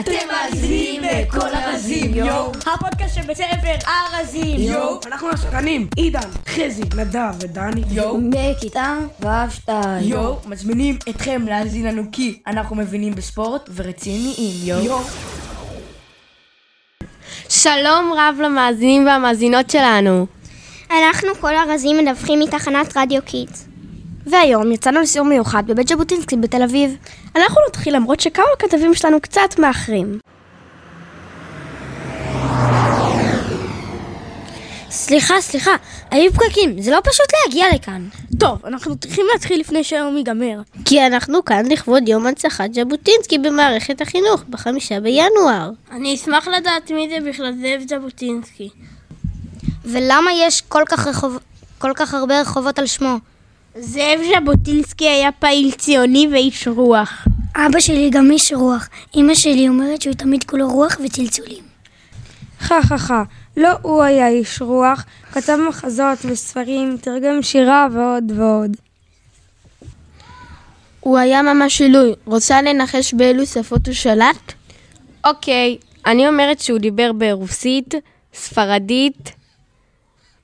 אתם מאזינים לכל הרזים, יואו. הפודקאסט שבצבר ארזים. יואו. אנחנו השחקנים, עידן, חזי, נדב ודני. יואו. מכיתה ו' שתיים. יואו, מזמינים אתכם להאזין לנו כי אנחנו מבינים בספורט ורציניים, יואו. שלום רב למאזינים והמאזינות שלנו. אנחנו כל הרזים מדווחים מתחנת רדיו קיטס. והיום יצאנו לסיור מיוחד בבית ז'בוטינסקי בתל אביב. אנחנו נתחיל למרות שכמה כתבים שלנו קצת מאחרים. סליחה, סליחה, היו פקקים, זה לא פשוט להגיע לכאן. טוב, אנחנו צריכים להתחיל לפני שהיום ייגמר. כי אנחנו כאן לכבוד יום הנצחת ז'בוטינסקי במערכת החינוך, בחמישה בינואר. אני אשמח לדעת מי זה בכלל זאב ז'בוטינסקי. ולמה יש כל כך, רחוב... כל כך הרבה רחובות על שמו? זאב ז'בוטינסקי היה פעיל ציוני ואיש רוח. אבא שלי גם איש רוח. אמא שלי אומרת שהוא תמיד כולו רוח וצלצולים. חה חה חה. לא הוא היה איש רוח, כתב מחזות וספרים, תרגם שירה ועוד ועוד. הוא היה ממש עילוי. רוצה לנחש באילו שפות הוא שלט? אוקיי, אני אומרת שהוא דיבר ברוסית, ספרדית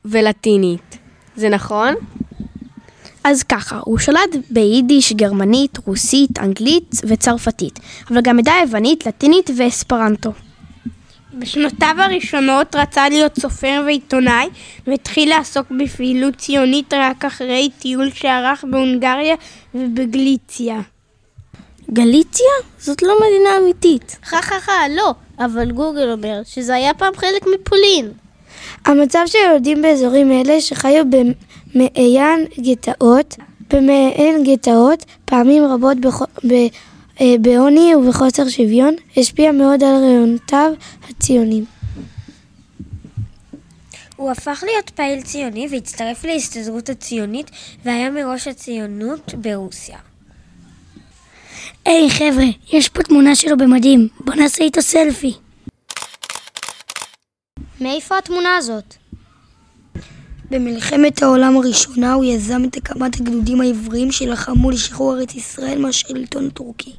ולטינית. זה נכון? אז ככה, הוא שלט ביידיש, גרמנית, רוסית, אנגלית וצרפתית, אבל גם עדה יוונית, לטינית ואספרנטו. בשנותיו הראשונות רצה להיות סופר ועיתונאי, והתחיל לעסוק בפעילות ציונית רק אחרי טיול שערך בהונגריה ובגליציה. גליציה? זאת לא מדינה אמיתית. חה חה חה, לא, אבל גוגל אומר שזה היה פעם חלק מפולין. המצב של ילדים באזורים אלה שחיו במעיין גטאות, במעין גטאות, פעמים רבות בכ- ב- אה, בעוני ובחוסר שוויון, השפיע מאוד על רעיונותיו הציונים. הוא הפך להיות פעיל ציוני והצטרף להסתדרות הציונית והיה מראש הציונות ברוסיה. היי חבר'ה, יש פה תמונה שלו במדים, בוא נעשה איתו סלפי. מאיפה התמונה הזאת? במלחמת העולם הראשונה הוא יזם את הקמת הגדודים העבריים שלחמו לשחרור ארץ ישראל מהשלטון הטורקי.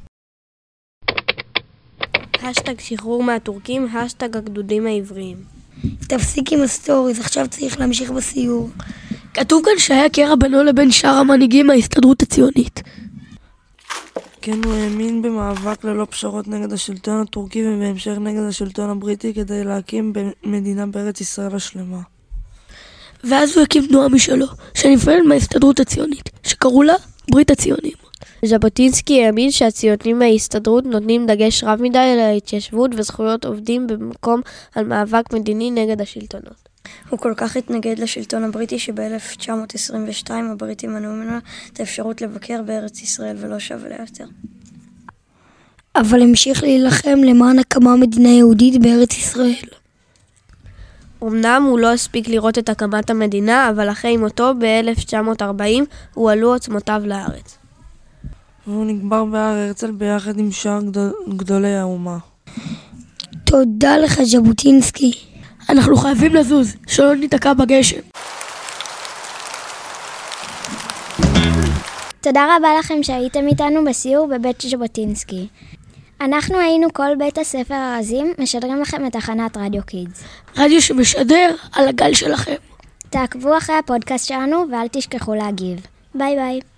השטג שחרור מהטורקים, השטג הגדודים העבריים. תפסיק עם הסטוריז, עכשיו צריך להמשיך בסיור. כתוב כאן שהיה קרע בינו לבין שאר המנהיגים מההסתדרות הציונית. כן, הוא האמין במאבק ללא פשרות נגד השלטון הטורקי ובהמשך נגד השלטון הבריטי כדי להקים ב- מדינה בארץ ישראל השלמה. ואז הוא הקים תנועה משלו, שנפעלת מההסתדרות הציונית, שקראו לה ברית הציונים. ז'בוטינסקי האמין שהציונים מההסתדרות נותנים דגש רב מדי על ההתיישבות וזכויות עובדים במקום על מאבק מדיני נגד השלטונות. הוא כל כך התנגד לשלטון הבריטי שב-1922 הבריטים מנעו ממנו את האפשרות לבקר בארץ ישראל ולא שב אליה יותר. אבל המשיך להילחם למען הקמה מדינה יהודית בארץ ישראל. אמנם הוא לא הספיק לראות את הקמת המדינה, אבל אחרי מותו ב-1940 הועלו עצמותיו לארץ. והוא נקבר בהר הרצל ביחד עם שאר גדול, גדולי האומה. תודה לך, ז'בוטינסקי. אנחנו חייבים לזוז, שלא ניתקע בגשם. תודה רבה לכם שהייתם איתנו בסיור בבית ז'בוטינסקי. אנחנו היינו כל בית הספר הרזים, משדרים לכם את תחנת רדיו קידס. רדיו שמשדר על הגל שלכם. תעקבו אחרי הפודקאסט שלנו ואל תשכחו להגיב. ביי ביי.